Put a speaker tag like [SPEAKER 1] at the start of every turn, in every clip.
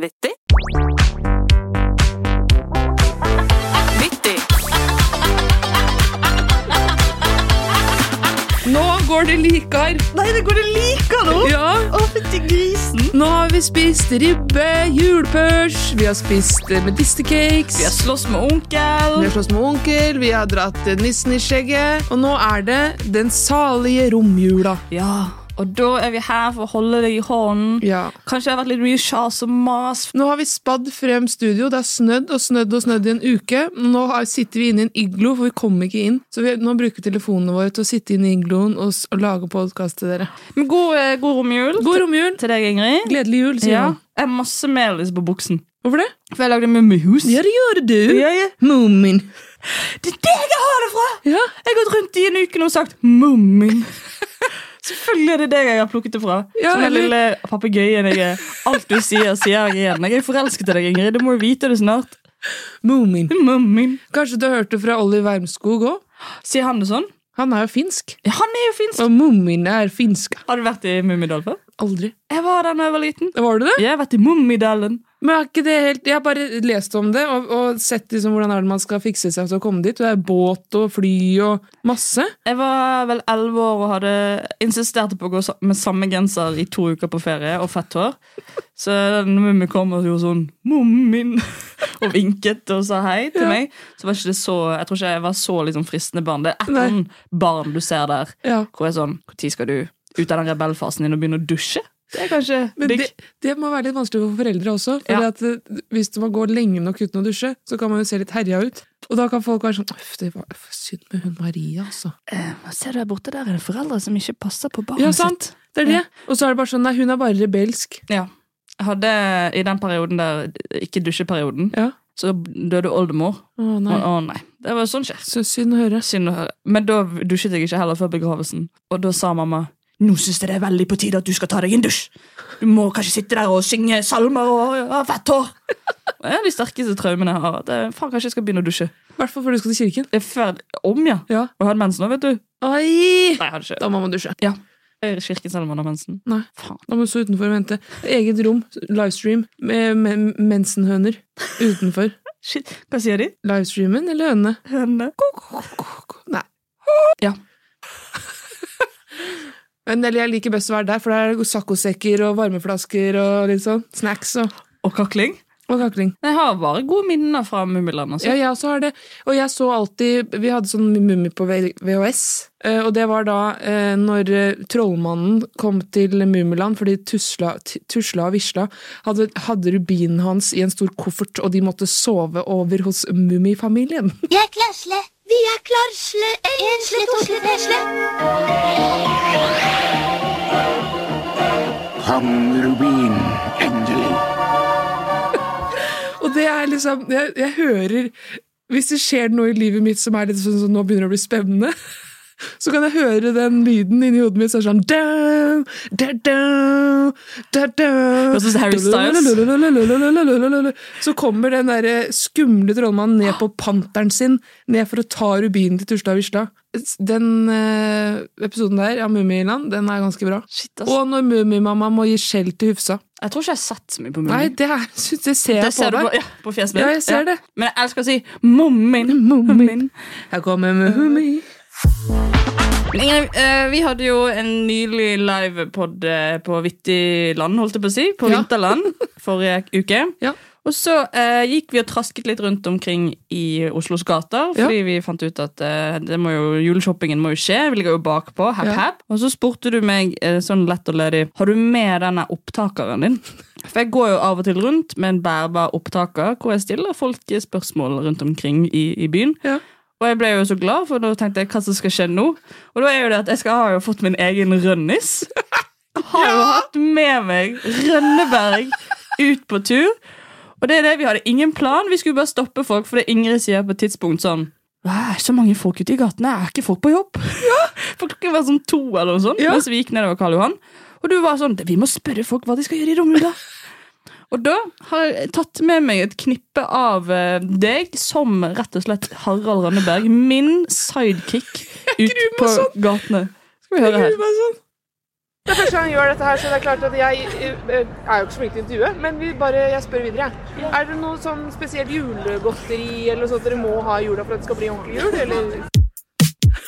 [SPEAKER 1] Vittig. Vittig.
[SPEAKER 2] Nå går det likere!
[SPEAKER 1] Nei, det går det like nå!
[SPEAKER 2] Ja.
[SPEAKER 1] Å, fytti grisen!
[SPEAKER 2] Nå har vi spist ribbe, julepørs, vi har spist eh, medistercakes
[SPEAKER 1] Vi har slåss med onkel.
[SPEAKER 2] Vi har slåss med onkel, vi har dratt eh, nissen i skjegget, og nå er det den salige romjula.
[SPEAKER 1] Ja, og da er vi her for å holde deg i hånden.
[SPEAKER 2] Ja.
[SPEAKER 1] Kanskje det har vært litt mye sjas og mas.
[SPEAKER 2] Nå har vi spadd frem studio, det har snødd og snødd og snødd i en uke. Nå har, sitter vi inne i en iglo, for vi kom ikke inn. Så vi, nå bruker vi telefonene våre til å sitte inne i igloen og, s- og lage podkast til dere.
[SPEAKER 1] Men god, eh, god romjul
[SPEAKER 2] God romjul!
[SPEAKER 1] til deg, Ingrid.
[SPEAKER 2] Gledelig jul, sier
[SPEAKER 1] Ja.
[SPEAKER 2] hun.
[SPEAKER 1] Jeg har masse melis på buksen.
[SPEAKER 2] Hvorfor det?
[SPEAKER 1] For jeg lagde mummihus.
[SPEAKER 2] Ja, det gjør du.
[SPEAKER 1] Ja, ja.
[SPEAKER 2] Mummin.
[SPEAKER 1] Det er der jeg har det fra!
[SPEAKER 2] Ja.
[SPEAKER 1] Jeg har gått rundt i en uke nå og sagt 'mummin'. Selvfølgelig er det deg jeg har plukket det fra.
[SPEAKER 2] Ja,
[SPEAKER 1] Som den
[SPEAKER 2] eller-
[SPEAKER 1] lille papegøyen jeg er. Alt du sier, sier jeg igjen. Jeg er forelsket i deg, Ingrid. Du må jo vite det snart.
[SPEAKER 2] Moomin.
[SPEAKER 1] Mummin.
[SPEAKER 2] Kanskje du har hørt det fra Olli Wermskog òg?
[SPEAKER 1] Sier han det sånn?
[SPEAKER 2] Han er jo finsk.
[SPEAKER 1] Ja, han er jo finsk.
[SPEAKER 2] Og Moomin er finsk.
[SPEAKER 1] Har du vært i Mummidal før?
[SPEAKER 2] Aldri.
[SPEAKER 1] Jeg var der da jeg var liten.
[SPEAKER 2] Var du det?
[SPEAKER 1] Jeg har vært i Mummidalen.
[SPEAKER 2] Men er ikke det helt Jeg har bare lest om det og, og sett liksom hvordan er det man skal fikse seg til å komme dit. Og det er båt og fly og masse.
[SPEAKER 1] Jeg var vel elleve år og hadde insisterte på å gå sa- med samme genser i to uker på ferie og fett hår. Så den mummi kom og gjorde sånn 'mummin' og vinket og sa hei til
[SPEAKER 2] Ja.
[SPEAKER 1] meg. Så var ikke det så, Jeg tror ikke jeg var så liksom fristende barn. Det er et
[SPEAKER 2] Nei.
[SPEAKER 1] eller annet barn du ser der
[SPEAKER 2] Ja.
[SPEAKER 1] hvor jeg er sånn 'Når skal du ut av den rebellfasen din og begynne å dusje?' Det er kanskje
[SPEAKER 2] Men
[SPEAKER 1] digg.
[SPEAKER 2] det, det må være litt vanskelig for foreldre også. For
[SPEAKER 1] Ja.
[SPEAKER 2] at eh, Hvis man går lenge nok uten å dusje, så kan man jo se litt herja ut. Og da kan folk være sånn Uff, det var for synd med hun Maria, altså.
[SPEAKER 1] Eh, Ser du der borte, der er det foreldre som ikke passer på barnet
[SPEAKER 2] Ja, sant.
[SPEAKER 1] sitt.
[SPEAKER 2] Det er det. Og så er det bare sånn Nei, hun er bare rebelsk.
[SPEAKER 1] Ja. Jeg hadde i den perioden der, ikke dusjeperioden,
[SPEAKER 2] Ja.
[SPEAKER 1] så døde oldemor.
[SPEAKER 2] Å
[SPEAKER 1] Å
[SPEAKER 2] nei.
[SPEAKER 1] å, nei, det var sånn skjer.
[SPEAKER 2] Så synd å høre.
[SPEAKER 1] Synd å høre. Men da dusjet jeg ikke heller før begravelsen. Og da sa mamma nå synes jeg det er veldig på tide at du skal ta deg en dusj. Du må kanskje sitte der og synge salmer og ha fett hår. Det er de sterkeste traumene jeg har. At jeg, faen, kanskje jeg skal begynne å dusje.
[SPEAKER 2] I hvert fall før du skal til kirken.
[SPEAKER 1] Det er før, om, ja.
[SPEAKER 2] Ja.
[SPEAKER 1] Og jeg hadde mensen nå, vet du.
[SPEAKER 2] Ai!
[SPEAKER 1] Nei, jeg hadde ikke.
[SPEAKER 2] Da må man dusje.
[SPEAKER 1] Jeg er i kirken selv om man har mensen.
[SPEAKER 2] Nei.
[SPEAKER 1] Faen.
[SPEAKER 2] Da må du stå utenfor og vente. Eget rom, livestream, med med mensenhøner utenfor.
[SPEAKER 1] Shit. Hva sier de?
[SPEAKER 2] Livestreamen eller hønene?
[SPEAKER 1] Hønene.
[SPEAKER 2] Nei.
[SPEAKER 1] Ja.
[SPEAKER 2] Men eller jeg liker best å være der, for der er det saccosekker og varmeflasker og litt sånn. Snacks og,
[SPEAKER 1] Og kakling.
[SPEAKER 2] og kakling.
[SPEAKER 1] Jeg har bare gode minner fra Mummiland. Altså.
[SPEAKER 2] Ja, jeg også har det. Og jeg så alltid Vi hadde sånn Mummi på V- VHS. eh, Og det var da eh, når eh, trollmannen kom til Mummiland fordi Tusla, T- tusla og Visla hadde, hadde rubinen hans i en stor koffert, og de måtte sove over hos Mummifamilien.
[SPEAKER 3] Vi er klarsle, vi er klarsle, ensle, tosle, tesle.
[SPEAKER 4] Kom, Rubin, endelig.
[SPEAKER 2] Og det er liksom Jeg, jeg hører Hvis det skjer noe i livet mitt som er litt sånn som nå begynner å bli spennende så kan jeg høre den lyden inni hodet mitt. Så er det sånn da, da, da, da, da.
[SPEAKER 1] Høres ut som Harry
[SPEAKER 2] Styles. Så kommer den der skumle trollmannen ned på panteren sin, ned for å ta rubinen til Tusla og Visla. Den eh, episoden der av Mummiland, den er ganske bra.
[SPEAKER 1] Shit, altså.
[SPEAKER 2] Og når Mummimamma må gi skjell til Hufsa.
[SPEAKER 1] Jeg tror ikke jeg har sett så mye på Mummi.
[SPEAKER 2] Nei, det, er, det ser jeg
[SPEAKER 1] Det ser
[SPEAKER 2] på
[SPEAKER 1] du
[SPEAKER 2] deg.
[SPEAKER 1] på, ja, på fjeset mitt.
[SPEAKER 2] Ja, jeg ser det.
[SPEAKER 1] Men jeg elsker å si 'mommin'.
[SPEAKER 2] Mummin. Her kommer Mummi.
[SPEAKER 1] Ingrid, eh, vi hadde jo en nylig livepod eh, på Vittig land, holdt jeg på å si. På
[SPEAKER 2] Ja.
[SPEAKER 1] Vinterland forrige uke.
[SPEAKER 2] Ja.
[SPEAKER 1] Og så eh, gikk vi og trasket litt rundt omkring i Oslos gater, fordi vi fant ut at eh, det må jo, juleshoppingen må jo skje. Vi ligger jo bakpå. Hepp,
[SPEAKER 2] Ja.
[SPEAKER 1] hepp. Og så spurte du meg eh, sånn lett og ledig Har du med denne opptakeren din. For jeg går jo av og til rundt med en bærbar opptaker hvor jeg stiller folk spørsmål rundt omkring i, i byen.
[SPEAKER 2] Ja.
[SPEAKER 1] Og jeg ble jo så glad, for da tenkte jeg hva som skal skje nå. Og da er jo det at jeg skal, har jo fått min egen rønnis. Har jo hatt med meg Rønneberg ut på tur. Og det er det, vi hadde ingen plan. Vi skulle bare stoppe folk, for det Ingrid sier på et tidspunkt sånn det er så mange folk ute i gatene. Er ikke folk på jobb? For klokken var sånn to eller noe sånt,
[SPEAKER 2] Ja.
[SPEAKER 1] mens vi gikk nedover Karl Johan. Og du var sånn Vi må spørre folk hva de skal gjøre i romjula. Og da har jeg tatt med meg et knippe av eh, deg som rett og slett Harald Rønneberg, min sidekick, ut
[SPEAKER 2] gruer meg
[SPEAKER 1] på
[SPEAKER 2] sånn.
[SPEAKER 1] gatene. Skal vi høre her.
[SPEAKER 2] Gud, hva er sånn? Det er første gang jeg gjør dette her, så det er klart at jeg eh, er jo ikke så flink til å intervjue. Men vi bare, jeg spør videre. jeg. Er det noe sånn spesielt julegodteri eller noe sånt dere må ha i jula for at det skal bli ordentlig jul? Eller?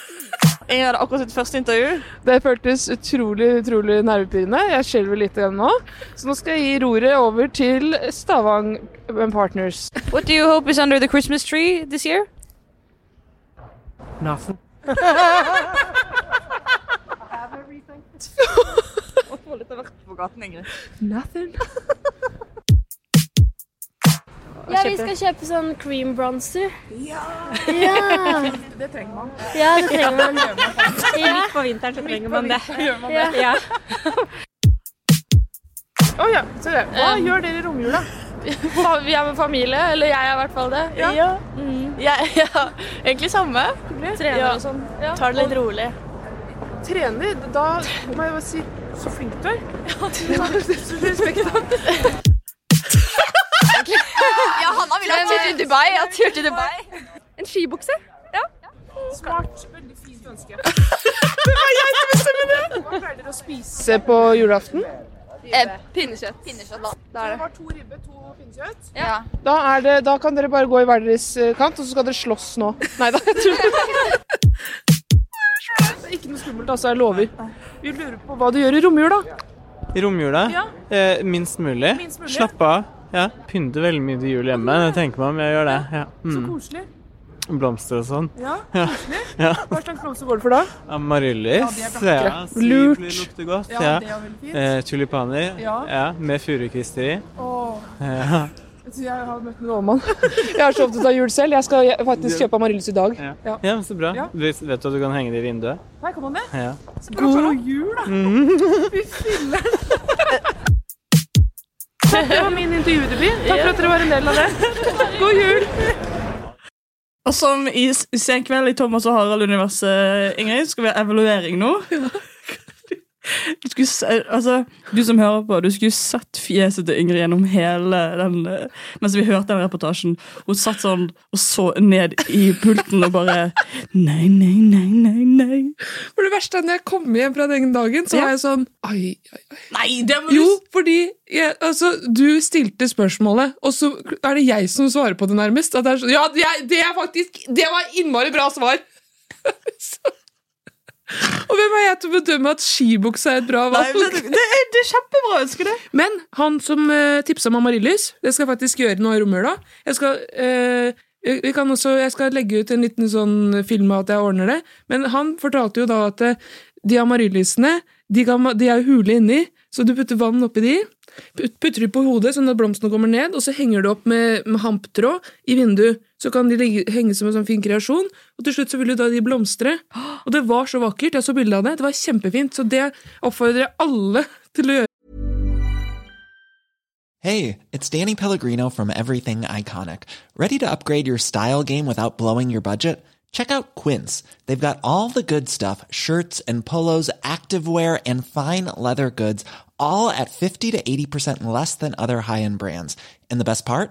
[SPEAKER 5] Jeg hadde akkurat sitt første intervju.
[SPEAKER 2] Det føltes utrolig utrolig nervepirrende. Jeg skjelver litt igjen nå. Så nå skal jeg gi roret over til Stavang Partners.
[SPEAKER 5] What do you hope is under the Christmas tree this year?
[SPEAKER 2] Nothing. Nothing.
[SPEAKER 6] Ja, vi skal kjøpe sånn cream bronzer. Ja! Det trenger man. Ja, det trenger man. Ja.
[SPEAKER 5] På vinteren så trenger man det.
[SPEAKER 6] Ja.
[SPEAKER 2] Å ja, se det. Hva gjør dere i romjula?
[SPEAKER 6] Um. Vi er med familie, eller jeg er i hvert fall det. Mm.
[SPEAKER 5] Ja. Ja, ja. Egentlig samme.
[SPEAKER 6] Trener
[SPEAKER 5] Ja.
[SPEAKER 6] og sånn. Ja.
[SPEAKER 5] Tar det litt rolig.
[SPEAKER 2] Trener? Da må jeg bare si så flink du er. Det var så respekt.
[SPEAKER 5] Ja, Hanna ville ha tur til Dubai. Ja, tur til Dubai. En skibukse?
[SPEAKER 2] Smart. Veldig fint ønske. det var jeg som bestemte det! Hva pleier dere å spise på julaften?
[SPEAKER 5] Eh, Pinnekjøtt. da.
[SPEAKER 2] Dere har to ribbe, to pinnekjøtt.
[SPEAKER 5] Ja.
[SPEAKER 2] Da, er det, da kan dere bare gå i hver deres eh, kant, og så skal dere slåss nå. Nei da. jeg tror Det er ikke noe skummelt, altså. Jeg lover. Vi lurer på hva du gjør i romjula.
[SPEAKER 7] I romjula? Eh, minst, mulig.
[SPEAKER 2] Minst mulig.
[SPEAKER 7] Slappe av. Ja. Pynte veldig mye til jul hjemme. Jeg tenker meg om jeg gjør det. Ja. Mm.
[SPEAKER 2] Koselig.
[SPEAKER 7] Blomster og sånn.
[SPEAKER 2] Ja,
[SPEAKER 7] Ja.
[SPEAKER 2] Hva slags blomster går det for da?
[SPEAKER 7] Amaryllis.
[SPEAKER 2] Ja, de er vakre.
[SPEAKER 7] Ja, sivler
[SPEAKER 2] Lurt.
[SPEAKER 7] lukter godt. Ja.
[SPEAKER 2] det var veldig fint.
[SPEAKER 7] Eh, tulipaner.
[SPEAKER 2] Ja.
[SPEAKER 7] Ja. Med furukvister i.
[SPEAKER 2] Åh,
[SPEAKER 7] Ja.
[SPEAKER 2] jeg tror jeg har møtt en overmann. Jeg er så opptatt av jul selv. Jeg skal faktisk kjøpe amaryllis i dag.
[SPEAKER 7] Ja.
[SPEAKER 2] Ja.
[SPEAKER 7] ja, men så bra.
[SPEAKER 2] Ja.
[SPEAKER 7] Vet vet du at du kan henge det i vinduet?
[SPEAKER 2] Her kan man det.
[SPEAKER 7] Ja.
[SPEAKER 2] God jul, da! Fy filler'n. Det var min intervjudebut. Takk for at dere var en del av det. God jul!
[SPEAKER 1] Og som i s- Senkveld i Thomas og Harald-universet, Ingrid, skal vi ha evaluering nå. Du, skulle, se- altså, du som hører på, du skulle sett fjeset til Ingrid gjennom hele den eh, Mens vi hørte den reportasjen. Hun satt sånn og så ned i pulten og bare Nei, nei, nei, nei, nei.
[SPEAKER 2] For det verste er når jeg kommer hjem fra den dagen, så
[SPEAKER 1] Ja.
[SPEAKER 2] var jeg sånn Ai, ai, ai.
[SPEAKER 1] Nei, det må
[SPEAKER 2] Jo, fordi jeg, altså, du stilte spørsmålet, og så er det jeg som svarer på det nærmest. At det er sånn, ja, jeg, det er faktisk Det var innmari bra svar! så. Og hvem er jeg til å bedømme at skibukse er et bra
[SPEAKER 1] Nei,
[SPEAKER 2] valg?
[SPEAKER 1] men det, er, det er kjempebra å ønske det.
[SPEAKER 2] Men han som uh, tipsa om amaryllis, det skal jeg faktisk gjøre nå i romjula. Jeg skal eh, vi kan også, jeg skal legge ut en liten sånn film av at jeg ordner det. Men han fortalte jo da at eh, de amaryllisene de, kan, ma- de er jo hule inni, så du putter vann oppi de. put- Putter de på hodet sånn at blomstene kommer ned, og så henger du opp med, med hamptråd i vinduet. Så kan de ligge, henge som en sånn fin kreasjon, og til slutt så vil jo da de blomstre. Og det var så vakkert. Jeg så bilde av det. Det var kjempefint. Så det oppfordrer jeg alle til å gjøre.
[SPEAKER 8] Hey, it's Danny Pellegrino from Everything Iconic. Ready to upgrade your style game without blowing your budget? Check out Quince. They've got all the good stuff shirts and polos, activewear, and fine leather goods, all at 50 to 80% less than other high end brands. And the best part?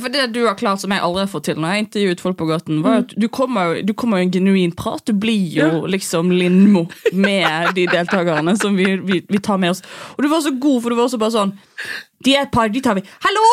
[SPEAKER 1] For det du har klart som jeg aldri har fått til når jeg intervjuet folk på gaten, var at du kommer jo du kommer jo i en genuin prat. Du blir jo liksom Lindmo med de deltakerne som vi, vi, vi tar med oss. Og du var så god, for du var også bare sånn De er et par, de tar vi. Hallo!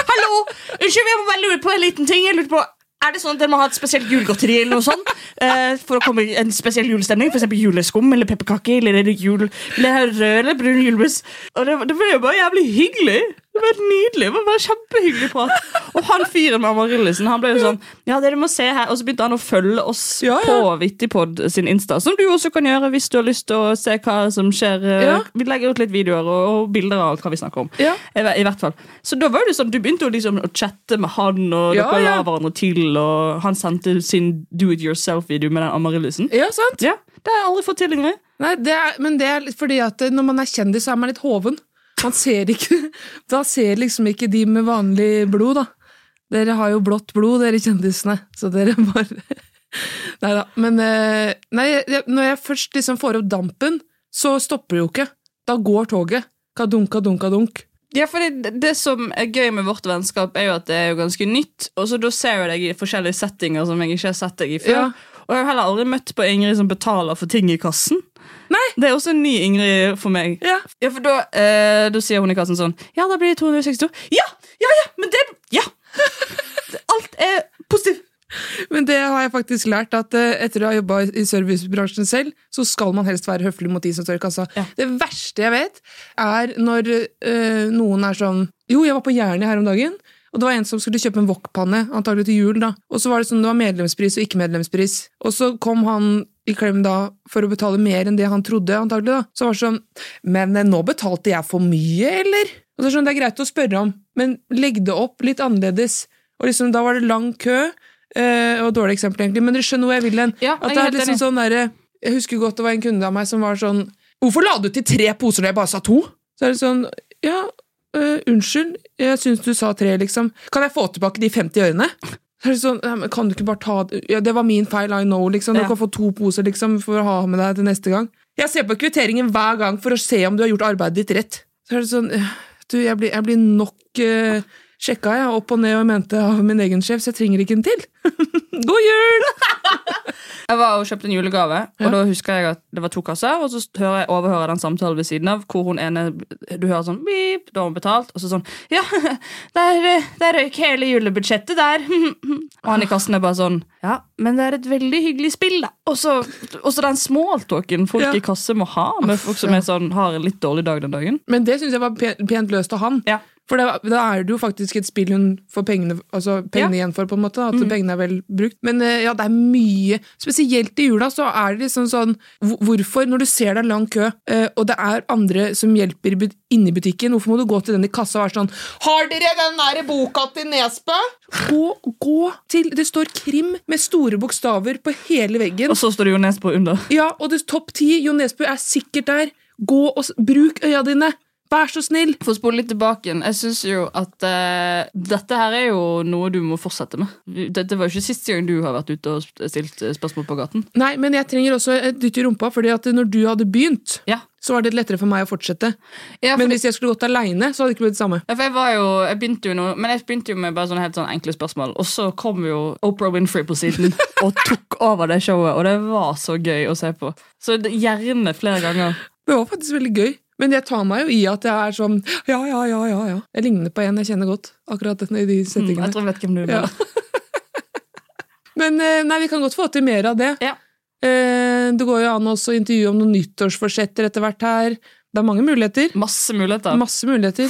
[SPEAKER 1] Hallo! Unnskyld, jeg må bare lure på en liten ting. Jeg lurer på er det sånn at dere må ha et spesielt julegodteri eller noe sånt? Eh, for å komme i en spesiell julestemning? For eksempel juleskum eller pepperkaker? Eller er det jul, eller er det rød eller brun julebrus? Og det, det ble jo bare jævlig hyggelig. Det var nydelig. Det var bare Kjempehyggelig prat. Og han fyren med amarylisen han ble jo sånn Ja, det du må se her Og så begynte han å følge oss
[SPEAKER 2] Ja, ja.
[SPEAKER 1] på Vittipod sin Insta, som du også kan gjøre hvis du har lyst til å se hva som skjer. eh.
[SPEAKER 2] Ja.
[SPEAKER 1] Vi legger ut litt videoer og, og bilder av alt hva vi snakker om.
[SPEAKER 2] Ja.
[SPEAKER 1] I, hver- I hvert fall Så da var det sånn, du begynte jo liksom å chatte med han, og
[SPEAKER 2] Ja,
[SPEAKER 1] dere la
[SPEAKER 2] ja.
[SPEAKER 1] hverandre til, og han sendte sin do it yourself-video med den amarylisen.
[SPEAKER 2] Ja, sant?
[SPEAKER 1] Ja, det har jeg aldri fått til, Ingrid.
[SPEAKER 2] Nei, det er, men det er litt fordi at når man er kjendis, så er man litt hoven. Man ser ikke Da ser liksom ikke de med vanlig blod, da. Dere har jo blått blod, dere kjendisene, så dere bare Nei da. Men eh, nei, jeg, når jeg først liksom får opp dampen, så stopper det jo ikke. Da går toget. Kadunk, kadunk, kadunk.
[SPEAKER 1] Ja, for det, det som er gøy med vårt vennskap, er jo at det er jo ganske nytt. Og så da ser jeg deg i forskjellige settinger som jeg ikke har sett deg i før.
[SPEAKER 2] Ja.
[SPEAKER 1] Og jeg har heller aldri møtt på Ingrid som betaler for ting i kassen.
[SPEAKER 2] Nei!
[SPEAKER 1] Det er også en ny Ingrid for meg.
[SPEAKER 2] Ja.
[SPEAKER 1] for da, eh, da sier hun i kassen sånn Ja, da blir det 262. Ja! Ja, ja! Men det Ja! Alt er positivt.
[SPEAKER 2] Men det har jeg faktisk lært, at eh, etter å ha jobba i servicebransjen selv, så skal man helst være høflig mot de som står i kassa.
[SPEAKER 1] Ja.
[SPEAKER 2] Det verste jeg vet, er når eh, noen er sånn Jo, jeg var på Jernia her om dagen. Og det var en som skulle kjøpe en wokpanne, antagelig til jul. da. Og så var det sånn, det var medlemspris og ikke-medlemspris. Og så kom han i klem da for å betale mer enn det han trodde, antagelig. da. Så var det sånn Men eh, nå betalte jeg for mye, eller? Og så er det sånn, Det er greit å spørre om, men legg det opp litt annerledes. Og liksom, Da var det lang kø, eh, og dårlig eksempel, egentlig, men dere skjønner hvor jeg vil hen.
[SPEAKER 1] Ja,
[SPEAKER 2] At
[SPEAKER 1] jeg
[SPEAKER 2] det
[SPEAKER 1] er
[SPEAKER 2] er
[SPEAKER 1] helt
[SPEAKER 2] liksom
[SPEAKER 1] enig.
[SPEAKER 2] sånn derre Jeg husker godt det var en kunde av meg som var sånn Hvorfor la du til tre poser når jeg bare sa to? Så er det sånn Ja, eh, unnskyld, jeg syns du sa tre, liksom. Kan jeg få tilbake de 50 ørene? Så er det sånn, «Nei, men kan du ikke bare ta det? Ja, det var min feil, I know, liksom. Du
[SPEAKER 1] Ja.
[SPEAKER 2] kan få to poser, liksom, for å ha med deg til neste gang. Jeg ser på kvitteringen hver gang for å se om du har gjort arbeidet ditt rett. Så er det sånn, «Øh, du, jeg blir, jeg blir nok eh, sjekka, jeg, opp og ned og i mente av min egen sjef, så jeg trenger ikke en til. God jul!
[SPEAKER 1] Jeg var og kjøpte en julegave, og
[SPEAKER 2] Ja.
[SPEAKER 1] da husker jeg at det var to kasser. Og så hører jeg, overhører jeg den samtalen ved siden av, hvor hun ene Du hører sånn beep, da har hun betalt, og så sånn Ja, der, eh, der røyk hele julebudsjettet der. Og han i kassen er bare sånn Ja, men det er et veldig hyggelig spill, da. Og så og så den smalltalken folk
[SPEAKER 2] Ja.
[SPEAKER 1] i kasse må ha med folk som er sånn, har en litt dårlig dag den dagen.
[SPEAKER 2] Men det syns jeg var pent, pent løst av han.
[SPEAKER 1] Ja.
[SPEAKER 2] For da, da er det jo faktisk et spill hun får pengene, altså pengene igjen for, på en måte. da, At pengene er vel brukt. Men eh, ja, det er mye. Spesielt i jula så er det liksom sånn hvor- Hvorfor, når du ser det er lang kø, eh, og det er andre som hjelper i but- inne i butikken, hvorfor må du gå til den i kassa og være sånn Har dere den der boka til Nesbø? Gå, gå til Det står Krim med store bokstaver på hele veggen.
[SPEAKER 1] Og så står det jo Nesbø under.
[SPEAKER 2] Ja, og det topp ti, Jon Nesbø er sikkert der. Gå og s- bruk øya dine. Vær så snill!
[SPEAKER 1] For å spole litt tilbake igjen, jeg syns jo at eh, dette her er jo noe du må fortsette med. Dette var jo ikke siste gang du har vært ute og sp- stilt eh, spørsmål på gaten.
[SPEAKER 2] Nei, men jeg trenger også et dytt i rumpa, fordi at når du hadde begynt,
[SPEAKER 1] Ja.
[SPEAKER 2] så var det lettere for meg å fortsette.
[SPEAKER 1] Ja, for,
[SPEAKER 2] Men hvis jeg skulle gått aleine, så hadde det ikke blitt det samme.
[SPEAKER 1] ja, for jeg var jo Jeg begynte jo noe, men jeg begynte jo med bare sånne helt sånn enkle spørsmål, og så kom jo Oprah Winfrey på siden og tok over det showet, og det var så gøy å se på. Så det- gjerne flere ganger.
[SPEAKER 2] Det var faktisk veldig gøy. Men jeg tar meg jo i at jeg er sånn ja, ja, ja, ja. ja. Jeg ligner på en jeg kjenner godt. akkurat denne, i de
[SPEAKER 1] Mm, Jeg
[SPEAKER 2] settingene.
[SPEAKER 1] tror jeg vet hvem du er.
[SPEAKER 2] Ja. Men eh, nei, vi kan godt få til mer av det.
[SPEAKER 1] Ja.
[SPEAKER 2] Eh, Det går jo an også å intervjue om noen nyttårsforsetter etter hvert her. Det er mange muligheter.
[SPEAKER 1] Masse muligheter.
[SPEAKER 2] Masse muligheter.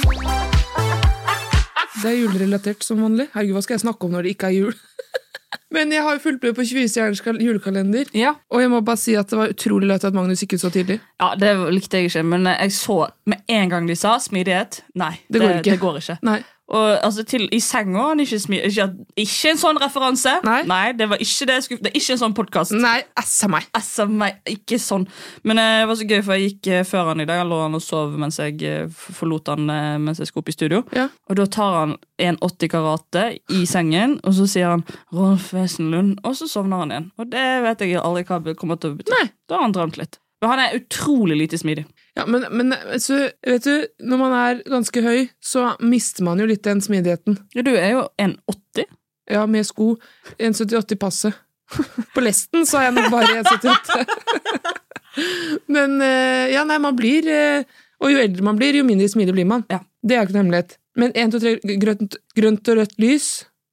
[SPEAKER 2] Det er julerelatert som vanlig. Herregud, hva skal jeg snakke om når det ikke er jul? Men jeg har jo fulgt med på 24-stjerners kal- julekalender.
[SPEAKER 1] ja.
[SPEAKER 2] Og jeg må bare si at det var utrolig løyt at Magnus gikk ut så tidlig.
[SPEAKER 1] ja, det likte jeg ikke, men jeg så med en gang de sa smidighet Nei,
[SPEAKER 2] Det går ikke.
[SPEAKER 1] Det går ikke.
[SPEAKER 2] Nei.
[SPEAKER 1] Og altså, til, I senga han ikke smi... Ikke, at- ikke en sånn referanse.
[SPEAKER 2] Nei.
[SPEAKER 1] det var ikke det jeg skulle Det er ikke en sånn podkast.
[SPEAKER 2] Nei, assa meg.
[SPEAKER 1] Altså, meg, ikke sånn. Men eh, det var så gøy, for jeg gikk eh, før han i dag. Jeg lå han og sov mens jeg eh, f- forlot han eh, mens jeg skulle opp i studio.
[SPEAKER 2] Ja.
[SPEAKER 1] Og da tar han 1,80 karate i sengen, og så sier han 'Rolf Wesenlund', og så sovner han igjen. Og det vet jeg aldri hva det kommer til å bety.
[SPEAKER 2] Nei.
[SPEAKER 1] Da har han drømt litt. Men han er utrolig lite smidig.
[SPEAKER 2] Ja, men, men så, vet du, når man er ganske høy, så mister man jo litt den smidigheten.
[SPEAKER 1] Ja, du er jo 1,80.
[SPEAKER 2] Ja, med sko. 1,78 i passet. På lesten så er jeg nok bare 1,78. Men eh, ja, nei, man blir eh, Og jo eldre man blir, jo mindre smidig blir man.
[SPEAKER 1] Ja.
[SPEAKER 2] Det er jo ikke noe hemmelighet. Men 1, 2, 3, grønt, grønt og rødt lys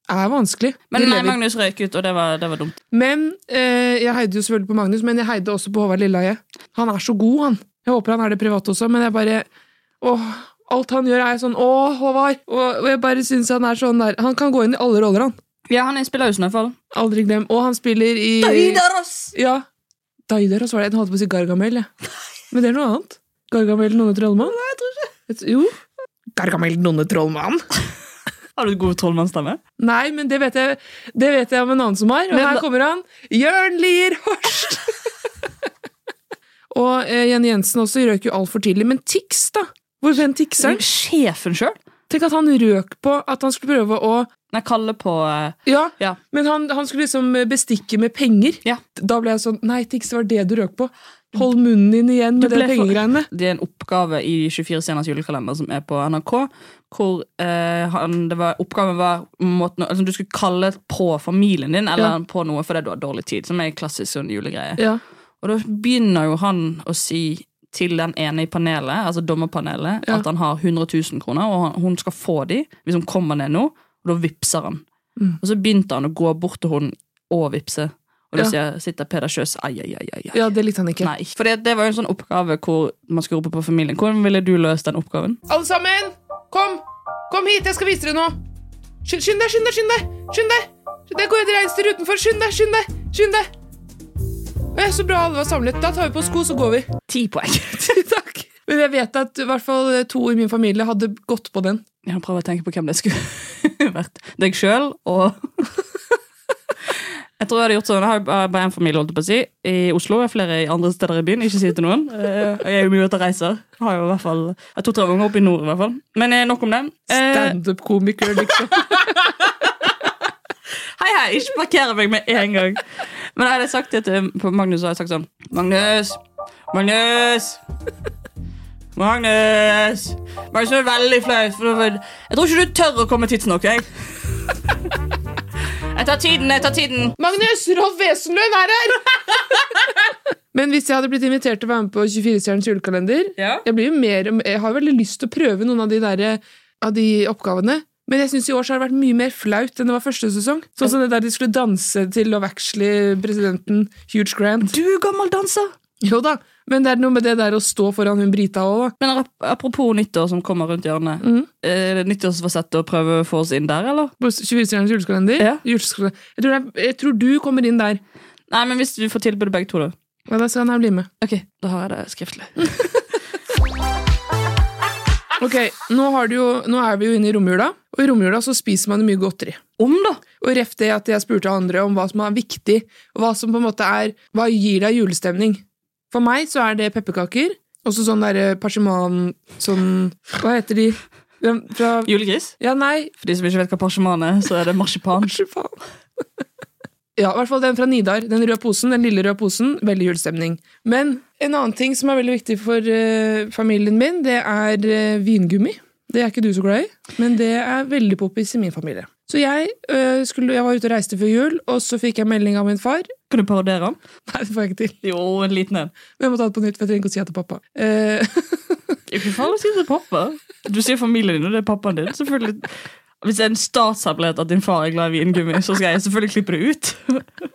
[SPEAKER 2] er vanskelig.
[SPEAKER 1] Men
[SPEAKER 2] Det
[SPEAKER 1] nei,
[SPEAKER 2] lever.
[SPEAKER 1] Magnus røyk ut, og det var, det var dumt.
[SPEAKER 2] men eh, jeg heide jo selvfølgelig på Magnus, men jeg heide også på Håvard Lilleheie. Han er så god, han. Jeg håper han er det private også, men jeg bare Åh, Alt han gjør, er sånn 'Å, Håvard!' Og, og jeg bare syns han er sånn der Han kan gå inn i alle roller, han.
[SPEAKER 1] Ja, han er spillausen i hvert fall.
[SPEAKER 2] Aldri glem. Og han spiller i Ja. Daidaros var det. Jeg holdt på å si Gargamel, jeg. Men det er noe annet. Gargamel noen trollmann? Nei, jeg tror ikke. Jo. Gargamel noen trollmann?
[SPEAKER 1] Har du god trollmannsstemme?
[SPEAKER 2] Nei, men det vet jeg, det vet jeg om en annen som har. Og
[SPEAKER 1] Men
[SPEAKER 2] her
[SPEAKER 1] hva-
[SPEAKER 2] kommer han. Jørn Lier Horst! og eh, Jenny Jensen også røk jo altfor tidlig. Men Tix, da? Hvor den Tixeren?
[SPEAKER 1] Sjefen sjøl?
[SPEAKER 2] Tenk at han røk på at han skulle prøve å
[SPEAKER 1] Nei, Kalle på eh,
[SPEAKER 2] Ja,
[SPEAKER 1] Ja.
[SPEAKER 2] men han, han skulle liksom bestikke med penger.
[SPEAKER 1] Ja.
[SPEAKER 2] Da ble jeg sånn Nei, Tix, det var det du røk på. Hold munnen din igjen med
[SPEAKER 1] Du
[SPEAKER 2] de
[SPEAKER 1] ble for-
[SPEAKER 2] pengegreiene.
[SPEAKER 1] Det er en oppgave i 24 sceners julekalender som er på NRK, hvor eh, han, det var, oppgaven var måten, altså, du skulle kalle på familien din eller
[SPEAKER 2] Ja.
[SPEAKER 1] på noe fordi du har dårlig tid, som er en klassisk sånn julegreie.
[SPEAKER 2] Ja.
[SPEAKER 1] Og da begynner jo han å si til den ene i panelet, altså dommerpanelet,
[SPEAKER 2] Ja.
[SPEAKER 1] at han har 100 000 kroner, og han, hun skal få de hvis hun kommer ned nå, og da vipser han.
[SPEAKER 2] Mm.
[SPEAKER 1] Og så begynte han å gå bort til hun og vipse, og da
[SPEAKER 2] Ja.
[SPEAKER 1] sier- sitter Peder Kjøs, ai, ai, ai, ai, ai.
[SPEAKER 2] ja, det likte han ikke.
[SPEAKER 1] Nei, for det, det var jo en sånn oppgave hvor man skulle rope på familien. Hvordan ville du løst den oppgaven?
[SPEAKER 2] Alle sammen, kom! Kom hit, jeg skal vise dere noe. Skynd skynd deg, skynd deg, skynd deg! Skynd deg! Det går et reinsdyr utenfor. Skynd deg, skynd deg! Skynd deg! Eh, Så bra alle var samlet. Da tar vi på sko, så går vi.
[SPEAKER 1] Ti poeng.
[SPEAKER 2] Takk. Men jeg vet at i hvert fall to i min familie hadde gått på den.
[SPEAKER 1] Jeg prøver å tenke på hvem det skulle vært. Deg sjøl og Jeg tror jeg hadde gjort sånn. Jeg har jo bare én familie holdt jeg på å si. i Oslo. Jeg har flere i andre steder i byen. Ikke si det til noen. Eh, Jeg er jo mye ute og reiser. Jeg Har jo i hvert fall jeg har to-tre unger oppe i nord, i hvert fall. Men eh, nok om det. Eh,
[SPEAKER 2] Standup-komiker, liksom.
[SPEAKER 1] Hei, hei, ikke parkere meg med en gang. Men jeg hadde sagt det til på Magnus, og jeg hadde sagt sånn Magnus! Magnus! Magnus! Magnus, det er veldig flaut. for- for- Jeg tror ikke du tør å komme tidsnok. Jeg Jeg tar tiden, jeg tar tiden.
[SPEAKER 2] Magnus! Rolf Wesenlund er her! Men hvis jeg hadde blitt invitert til å være med på 24-stjernens julekalender
[SPEAKER 1] Ja.
[SPEAKER 2] jeg, blir jo mer, jeg har veldig lyst til å prøve noen av de, der, eh, av de oppgavene. Men jeg syns i år så har det vært mye mer flaut enn det var første sesong. Sånn som det der de skulle danse til Love Actually-presidenten Huge Grant.
[SPEAKER 1] Du er gammel danser.
[SPEAKER 2] Jo da, men det er noe med det der å stå foran hun Brita òg, da.
[SPEAKER 1] Men ap- apropos nyttår som kommer rundt hjørnet. Er det nyttårsfasett å prøve å få oss inn der, eller?
[SPEAKER 2] På 24-stjernens julekalender.
[SPEAKER 1] Ja.
[SPEAKER 2] Julekalender. Jeg, tror det er, jeg tror du kommer inn der.
[SPEAKER 1] Nei, men hvis vi får tilbud begge to, da.
[SPEAKER 2] Ja, da skal han her bli med.
[SPEAKER 1] Ok, Da har jeg det skriftlig.
[SPEAKER 2] Ok, nå, har du jo, nå er vi jo inne i romjula, og i romjula så spiser man jo mye godteri.
[SPEAKER 1] Om, da!
[SPEAKER 2] Og ref det at jeg spurte andre om hva som er viktig, og hva som på en måte er Hva gir deg julestemning? For meg så er det pepperkaker, og så sånn derre parsiman Sånn Hva heter de? Den Fra
[SPEAKER 1] Julegris.
[SPEAKER 2] Ja, nei
[SPEAKER 1] For de som ikke vet hva parsiman er, så er det marsipan.
[SPEAKER 2] Marsipan. Ja, i hvert fall den fra Nidar. Den røde posen, den lille røde posen. Veldig julestemning. Men en annen ting som er veldig viktig for eh, familien min, det er eh, vingummi. Det er ikke du så glad i, men det er veldig poppis i min familie. Så jeg, eh, skulle, jeg var ute og reiste før jul, og så fikk jeg melding av min far.
[SPEAKER 1] Kan du parodiere han?
[SPEAKER 2] Nei, det får jeg ikke til.
[SPEAKER 1] Jo, en liten en.
[SPEAKER 2] Men jeg må ta det på nytt, for jeg trenger ikke å si det til pappa. Eh,
[SPEAKER 1] Ikke farlig å si det til pappa. Du sier familien din, og det er pappaen din. Selvfølgelig. Hvis det er en statshemmelighet at din far er glad i vingummi, så skal jeg selvfølgelig klippe det ut.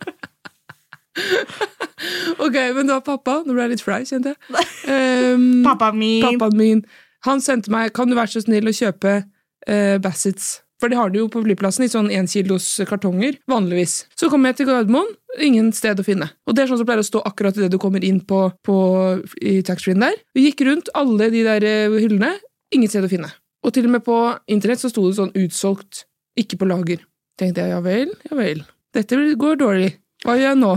[SPEAKER 2] ok, men det var pappa. Nå ble jeg litt flau, kjente jeg. Um,
[SPEAKER 1] min!
[SPEAKER 2] Pappaen min. Han sendte meg Kan du være så snill å kjøpe eh, Bassets? For de har det jo på flyplassen i sånn enkilos kartonger, vanligvis. Så kommer jeg til Gardermoen, ingen sted å finne. Og det er sånn som pleier å stå akkurat idet du kommer inn på, på, i taxfree-en der. Vi gikk rundt alle de der eh, hyllene, ingen sted å finne. Og til og med på internett så sto det sånn utsolgt, ikke på lager. Tenkte jeg ja vel, ja vel. Dette går dårlig. Hva gjør jeg nå?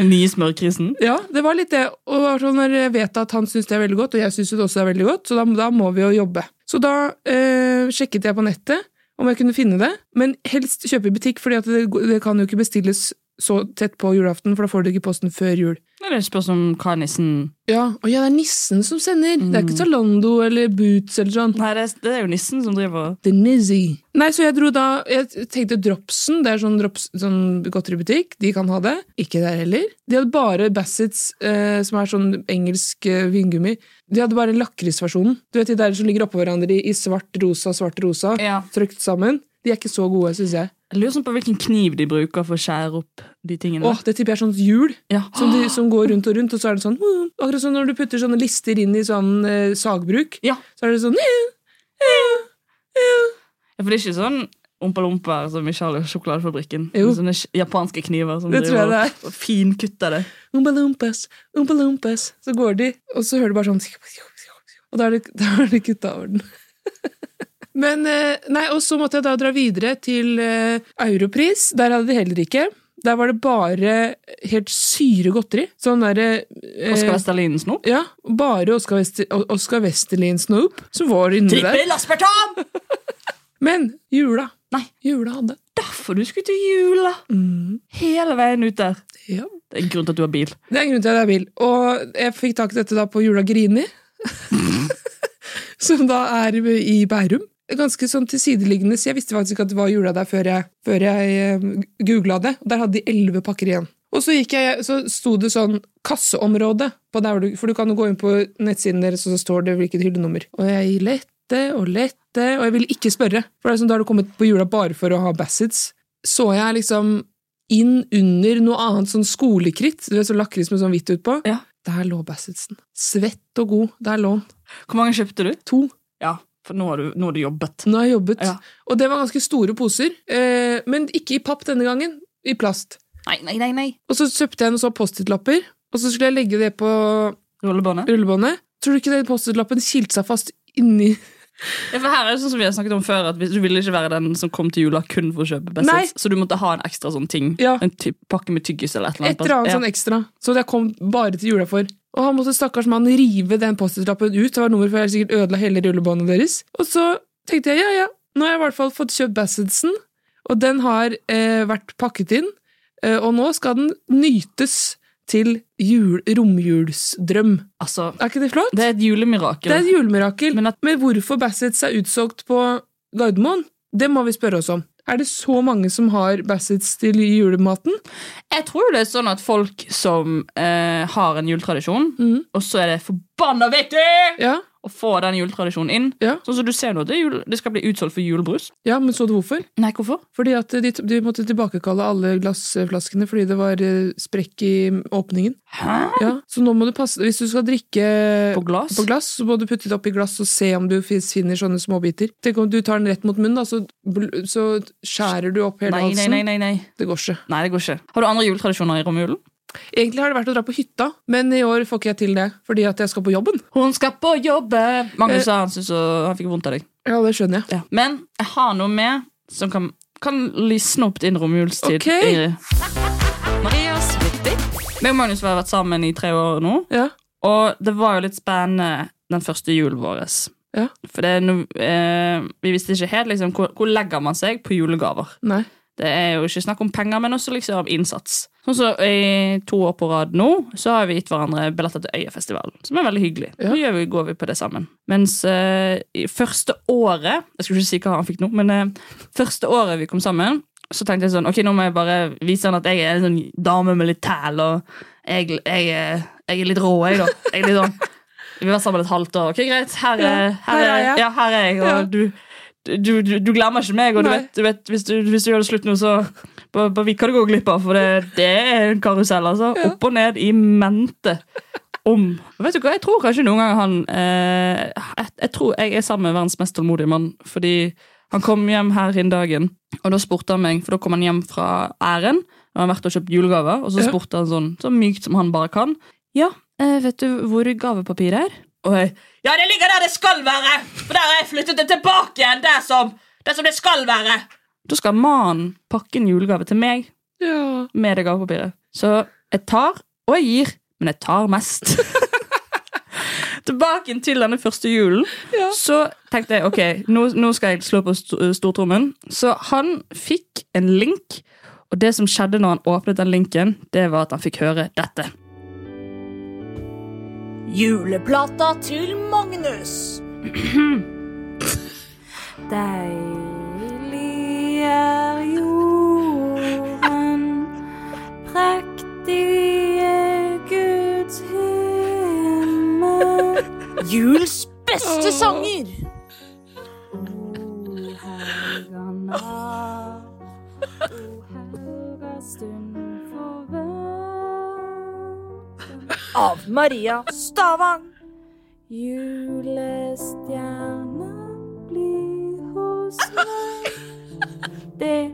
[SPEAKER 1] Den nye smørkrisen.
[SPEAKER 2] Ja, det var litt det. Og det var sånn når jeg vet at han syns det er veldig godt, og jeg syns det også er veldig godt, så da, da må vi jo jobbe. Så da eh, sjekket jeg på nettet om jeg kunne finne det, men helst kjøpe i butikk, for det, det kan jo ikke bestilles så tett på julaften, for da får du ikke posten før jul.
[SPEAKER 1] Nei, Det spørs om hva nissen
[SPEAKER 2] Ja, og ja, det er nissen som sender. Det er ikke Zalando eller Boots eller sånn.
[SPEAKER 1] Nei, det er, det er jo nissen som driver
[SPEAKER 2] The Nizzy. Nei, så jeg dro da Jeg tenkte Dropsen, det er sånn, drops, sånn godteributikk, de kan ha det. Ikke der heller. De hadde bare Bassets, eh, som er sånn engelsk eh, vingummi. De hadde bare lakrisversjonen. Du vet de der som ligger oppå hverandre i, i svart rosa, svart rosa,
[SPEAKER 1] Ja.
[SPEAKER 2] trykt sammen. De er ikke så gode, syns jeg.
[SPEAKER 1] Jeg lurer sånn på hvilken kniv de bruker for å skjære opp de tingene.
[SPEAKER 2] Åh, det tipper jeg er sånt hjul som, de, som går rundt og rundt, og så er det sånn mm, Akkurat som når du putter sånne lister inn i sånn eh, sagbruk,
[SPEAKER 1] Ja.
[SPEAKER 2] så er det sånn
[SPEAKER 1] Ja, For det er ikke sånn ompa-lomper som i Charlie og sjokoladefabrikken.
[SPEAKER 2] Jo.
[SPEAKER 1] Men Sånne sj- japanske kniver som
[SPEAKER 2] Det tror jeg
[SPEAKER 1] driver
[SPEAKER 2] det
[SPEAKER 1] og- og finkutter det.
[SPEAKER 2] Umbalumpas, umbalumpas. Så går de, og så hører du bare sånn Og da er det, da er det kutta over den. Men, eh, nei, og så måtte jeg da dra videre til eh, Europris. Der hadde de heller ikke. Der var det bare helt syre godteri. Sånn derre eh,
[SPEAKER 1] Oskar Vestalinen snop.
[SPEAKER 2] Ja, bare Oscar, Wester, Oscar Westerlin Snoop som var inne der.
[SPEAKER 1] aspartam!
[SPEAKER 2] Men jula.
[SPEAKER 1] Nei.
[SPEAKER 2] Jula hadde.
[SPEAKER 1] Derfor du skulle til jula! Mm. Hele veien ut der.
[SPEAKER 2] Ja.
[SPEAKER 1] Det er en grunn til at du har bil.
[SPEAKER 2] Det er en grunn til at jeg har bil. Og jeg fikk tak i dette da på Jula Grini, som da er i Bærum. Ganske sånn tilsideliggende, så jeg visste faktisk ikke at det var jula der før jeg, før jeg googla det. Og Der hadde de elleve pakker igjen. Og så, gikk jeg, så sto det sånn kasseområde, på der hvor du, for du kan jo gå inn på nettsiden deres, og så står det hvilket hyllenummer. Og jeg lette og lette, og jeg ville ikke spørre. For det er sånn, da har du kommet på jula bare for å ha Bassets. Så jeg liksom inn under noe annet sånn skolekritt, du vet sånn lakris med sånn hvitt utpå.
[SPEAKER 1] Ja.
[SPEAKER 2] Der lå Bassetsen. Svett og god. Der lå han.
[SPEAKER 1] Hvor mange kjøpte du?
[SPEAKER 2] To.
[SPEAKER 1] Ja, for nå har du, nå har du jobbet.
[SPEAKER 2] Nå har jeg jobbet.
[SPEAKER 1] Ja.
[SPEAKER 2] Og det var ganske store poser, eh, men ikke i papp denne gangen. I plast.
[SPEAKER 1] Nei, nei, nei, nei.
[SPEAKER 2] Og så kjøpte jeg noen sånne Post-It-lapper, og så skulle jeg legge det på
[SPEAKER 1] Rullebåndet.
[SPEAKER 2] rullebåndet. Tror du ikke den Post-It-lappen kilte seg fast inni
[SPEAKER 1] Ja, for her er det sånn som vi har snakket om før, at hvis- Du ville ikke være den som kom til jula kun for å kjøpe
[SPEAKER 2] Nei.
[SPEAKER 1] Bessets, så du måtte ha en ekstra sånn ting.
[SPEAKER 2] Ja.
[SPEAKER 1] En ty- pakke med tyggis eller et eller
[SPEAKER 2] Et
[SPEAKER 1] annet.
[SPEAKER 2] eller annet
[SPEAKER 1] Ja.
[SPEAKER 2] sånn ekstra. Så det kom bare til jula for. Og han måtte stakkars mann rive den post-it-lappen ut. Det var nummer for jeg sikkert ødela hele rullebåndet deres. Og så tenkte jeg ja, ja, nå har jeg i hvert fall fått kjøpt Bassetsen, og den har eh, vært pakket inn. Eh, og nå skal den nytes til jul, romjulsdrøm.
[SPEAKER 1] Altså,
[SPEAKER 2] Er ikke det flott?
[SPEAKER 1] det er et julemirakel.
[SPEAKER 2] Det er et julemirakel.
[SPEAKER 1] Men
[SPEAKER 2] Men,
[SPEAKER 1] at-
[SPEAKER 2] hvorfor Bassets er utsolgt på Gardermoen, det må vi spørre oss om. Er det så mange som har Bassets til julematen?
[SPEAKER 1] Jeg tror jo det er sånn at folk som eh, har en juletradisjon,
[SPEAKER 2] Mhm.
[SPEAKER 1] og så er det forbanna viktig
[SPEAKER 2] Ja,
[SPEAKER 1] å få den juletradisjonen inn.
[SPEAKER 2] Ja.
[SPEAKER 1] Sånn som du ser nå, det, er jul, det skal bli utsolgt for julebrus.
[SPEAKER 2] ja men så du hvorfor?
[SPEAKER 1] Nei, hvorfor?
[SPEAKER 2] Fordi at de, de måtte tilbakekalle alle glassflaskene fordi det var eh, sprekk i åpningen.
[SPEAKER 1] Hæ?
[SPEAKER 2] Ja, så nå må du passe Hvis du skal drikke
[SPEAKER 1] På glass?
[SPEAKER 2] på glass, så må du putte det oppi glass og se om du fin- finner sånne småbiter. Tenk om du tar den rett mot munnen, da, så, bl- så skjærer du opp hele
[SPEAKER 1] Nei, nei,
[SPEAKER 2] halsen.
[SPEAKER 1] nei, nei, nei.
[SPEAKER 2] Det går ikke.
[SPEAKER 1] Nei, det går ikke. Har du andre juletradisjoner i romjulen?
[SPEAKER 2] Egentlig har det vært å dra på hytta, men i år får ikke jeg til det fordi at jeg skal på jobben.
[SPEAKER 1] Hun skal på jobbe! Magnus
[SPEAKER 2] Eh.
[SPEAKER 1] sa han syntes å- han fikk vondt av deg.
[SPEAKER 2] Ja, det skjønner jeg.
[SPEAKER 1] Men jeg har noe med som kan, kan lysne opp din romjulstid.
[SPEAKER 2] Ok.
[SPEAKER 1] Ingrid. Meg og Magnus har vært sammen i tre år nå,
[SPEAKER 2] Ja,
[SPEAKER 1] og det var jo litt spennende den første julen vår.
[SPEAKER 2] Ja.
[SPEAKER 1] For det er no, eh, vi visste ikke helt liksom, hvor, hvor legger man seg på julegaver.
[SPEAKER 2] nei.
[SPEAKER 1] Det er jo ikke snakk om penger, men også liksom innsats. Sånn som I to år på rad nå så har vi gitt hverandre billetter til Øyafestivalen, som er veldig hyggelig.
[SPEAKER 2] Ja.
[SPEAKER 1] Nå gjør vi, går vi på det sammen. Mens eh, i første året Jeg skulle ikke si hva han fikk nå, men eh, første året vi kom sammen, så tenkte jeg sånn Ok, nå må jeg bare vise han at jeg er en sånn dame med litt tæl, og jeg, jeg, er- jeg er litt rå, jeg, da. Jeg er litt sånn Vi har vært sammen et halvt år. Ok, greit. Her er, her er,
[SPEAKER 2] her er jeg.
[SPEAKER 1] Ja, her er jeg, og
[SPEAKER 2] Ja.
[SPEAKER 1] du du, du, du glemmer ikke meg, og du
[SPEAKER 2] Nei.
[SPEAKER 1] vet, du vet hvis, du, hvis du gjør det slutt nå, så bare, bare vi kan du gå glipp av, for det, det er en karusell, altså. Opp og ned i mente. Om. Og Vet du hva, jeg tror kanskje noen ganger han eh, jeg, jeg tror jeg er sammen med verdens mest tålmodige mann, fordi han kom hjem her innen dagen, og da spurte han meg, for da kom han hjem fra æren, og han har vært og kjøpt julegaver, og så
[SPEAKER 2] Ja.
[SPEAKER 1] spurte han sånn, så mykt som han bare kan, ja, eh, vet du hvor gavepapiret er? Og jeg, ja, det ligger der det skal være, for der har jeg flyttet det tilbake igjen, der som, der som det skal være. Da skal mannen pakke en julegave til meg,
[SPEAKER 2] Ja.
[SPEAKER 1] med det gavepapiret. Så jeg tar, og jeg gir, men jeg tar mest. Tilbake til denne første julen,
[SPEAKER 2] Ja.
[SPEAKER 1] så tenkte jeg ok, nå, nå skal jeg slå på st- eh, stortrommen. Så han fikk en link, og det som skjedde når han åpnet den linken, det var at han fikk høre dette.
[SPEAKER 5] Juleplata til Magnus. Deilig er jorden, prektige Guds himmel. Juls beste sanger! O helgan
[SPEAKER 9] av. O helga stund for verden. Av Maria Stavang. Julestjerna blir hos meg. Det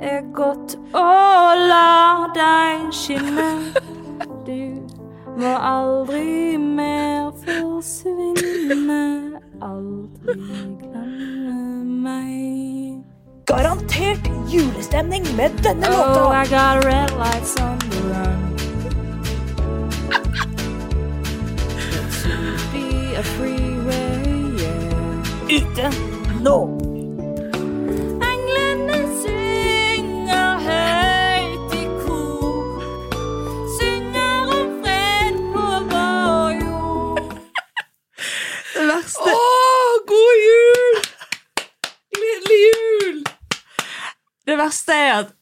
[SPEAKER 9] er godt å la deg skinne. Du må aldri mer forsvinne. Aldri glemme meg.
[SPEAKER 10] Garantert julestemning med denne
[SPEAKER 9] Oh, I
[SPEAKER 10] låta.
[SPEAKER 9] got red lights on the run. To be a freeway, yeah.
[SPEAKER 10] Ute nå.
[SPEAKER 9] Englene synger høyt i kor. Synger om fred på vår jord.
[SPEAKER 1] Det verste
[SPEAKER 2] Åh, god jul! Gledelig jul!
[SPEAKER 1] Det verste er at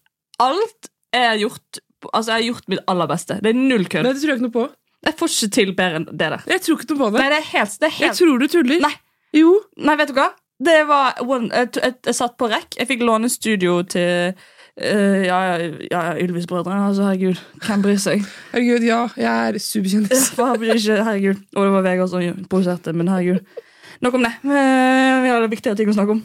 [SPEAKER 1] alt jeg har gjort Altså, jeg har gjort mitt aller beste. Det er null kødd.
[SPEAKER 2] Nei, det tror jeg ikke noe på.
[SPEAKER 1] Jeg får ikke til bedre enn det der.
[SPEAKER 2] Jeg tror ikke noe på det.
[SPEAKER 1] Nei, det er helt, det er helt
[SPEAKER 2] Jeg tror du tuller.
[SPEAKER 1] Nei.
[SPEAKER 2] Jo.
[SPEAKER 1] Nei, vet du hva? Det var one, jeg, t- jeg, jeg satt på rekk. Jeg fikk låne studio til eh, ja, ja, ja, Ylvis-brødrene. Altså, herregud, hvem bryr seg?
[SPEAKER 2] Herregud, ja, jeg er superkjendis.
[SPEAKER 1] Hva bryr ikke, herregud. Og det var Vegard som produserte, men herregud. Nok om det. Eh, Vi har viktigere ting å snakke om.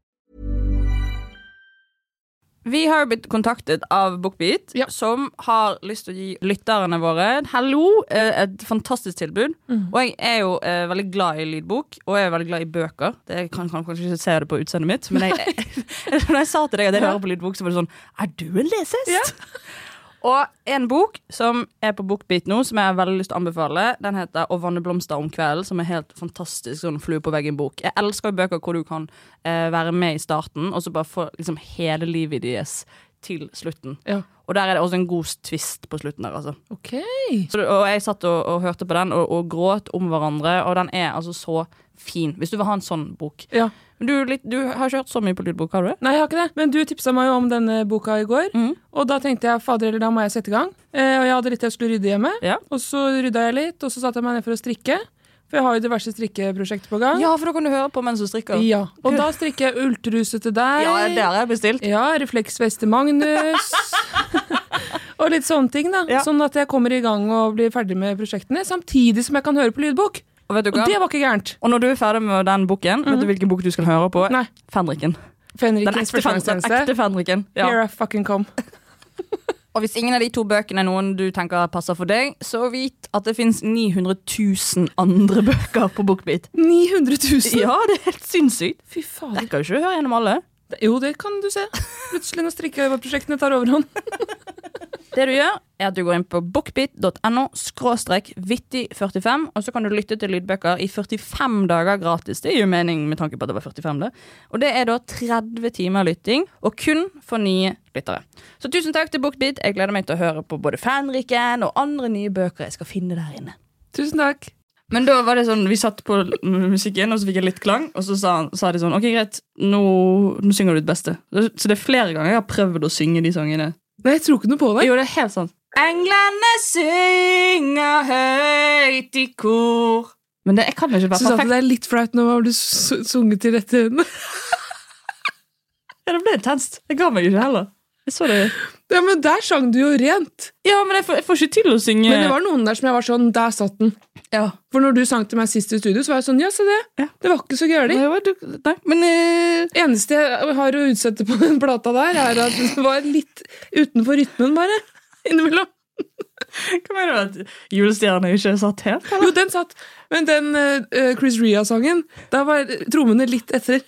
[SPEAKER 1] Vi har jo blitt kontaktet av BookBeat, som har lyst til å gi lytterne våre en hello, eh, et fantastisk tilbud. Og jeg er jo eh, veldig glad i lydbok, og jeg er veldig glad i bøker. Det jeg kan, kan kanskje ikke se det på utseendet mitt, men jeg, når jeg sa til deg at jeg hører på lydbok, så var det sånn Er du en lesehest? Og en bok som er på BookBeat nå, som jeg har veldig lyst til å anbefale, den heter 'Å vanne blomster om kvelden', som er helt fantastisk sånn flue på veggen-bok. Jeg elsker jo bøker hvor du kan eh, være med i starten, og så bare få liksom hele livet deres til slutten.
[SPEAKER 2] Ja.
[SPEAKER 1] Og der er det også en god twist på slutten der, altså.
[SPEAKER 2] Ok.
[SPEAKER 1] Så, det- og jeg satt og, og hørte på den og, og gråt om hverandre, og den er altså så fin. Hvis du vil ha en sånn bok.
[SPEAKER 2] Ja.
[SPEAKER 1] Men du, er litt, du har ikke hørt så mye på lydbok, har du det?
[SPEAKER 2] Nei, jeg har ikke det. Men du tipsa meg jo om denne boka i går.
[SPEAKER 1] Mm.
[SPEAKER 2] Og da tenkte jeg fader eller da må jeg sette i gang. Eh, og jeg hadde litt jeg skulle rydde hjemme. Og så rydda jeg litt, og så satte jeg meg ned for å strikke. For jeg har jo diverse strikkeprosjekter på gang.
[SPEAKER 1] Ja, for da kan du høre på mens du strikker.
[SPEAKER 2] Ja, Og da strikker jeg ultruse til deg.
[SPEAKER 1] Ja, det har jeg bestilt.
[SPEAKER 2] Ja, refleksvest til Magnus. og litt sånne ting, da. Sånn at jeg kommer i gang og blir ferdig med prosjektene. Samtidig som jeg kan høre på lydbok.
[SPEAKER 1] Og, vet du hva?
[SPEAKER 2] det var ikke gærent.
[SPEAKER 1] Og når du er ferdig med den boken, vet du hvilken bok du skal høre på?
[SPEAKER 2] Nei.
[SPEAKER 1] Fenriken.
[SPEAKER 2] Fenrikens
[SPEAKER 1] Den ekte, fen den
[SPEAKER 2] førstegangstjeneste.
[SPEAKER 1] ekte Fenriken.
[SPEAKER 2] Here I fucking come.
[SPEAKER 1] Og hvis ingen av de to bøkene er noen du tenker passer for deg, så vit at det fins 900 000 andre bøker på BookBeat.
[SPEAKER 2] 900 000?
[SPEAKER 1] Ja, det er helt sinnssykt.
[SPEAKER 2] Fy faen.
[SPEAKER 1] Rekker jo ikke å høre gjennom alle.
[SPEAKER 2] Jo, det kan du se. Plutselig når strikkeprosjektene tar overhånd.
[SPEAKER 1] Det du gjør, er at du går inn på bookbit.no skråstrek vittig45, og så kan du lytte til lydbøker i 45 dager gratis. Det gir jo mening med tanke på at det var 45, det. Og det er da 30 timer lytting, og kun for nye lyttere. Så tusen takk til Bookbit. Jeg gleder meg til å høre på både Fanriken og andre nye bøker jeg skal finne der inne.
[SPEAKER 2] Tusen takk.
[SPEAKER 1] Men da var det sånn, vi satt på l- musikken, og så fikk jeg litt klang, og så sa, han, sa de sånn, ok greit, nå, nå synger du ditt beste. Så det er flere ganger jeg har prøvd å synge de sangene.
[SPEAKER 2] Nei, jeg tror ikke noe på det.
[SPEAKER 1] Jo, det er helt sånn. sant. Englene synger høyt i kor. Men det, jeg kan jo ikke
[SPEAKER 2] Syns
[SPEAKER 1] være
[SPEAKER 2] at
[SPEAKER 1] perfekt.
[SPEAKER 2] det er litt flaut når man blir su- sunget til rette ende.
[SPEAKER 1] Ja, det ble intenst. Jeg ga meg ikke heller. Jeg så det.
[SPEAKER 2] Ja, men der sang du jo rent.
[SPEAKER 1] Ja, men jeg får, jeg får ikke til å synge.
[SPEAKER 2] Men det var noen der som jeg var sånn, der satt den. For når du sang til meg sist i studio, så var jeg sånn, ja, se det. Det var ikke så gærlig.
[SPEAKER 1] Nei, men... eh,
[SPEAKER 2] Eneste jeg har å utsette på den plata der, er at det var litt utenfor rytmen bare, innimellom.
[SPEAKER 1] Hva mener du at julestjernen ikke satt helt?
[SPEAKER 2] Jo, den satt. Men den eh, Chris Ria-sangen, der var trommene litt etter.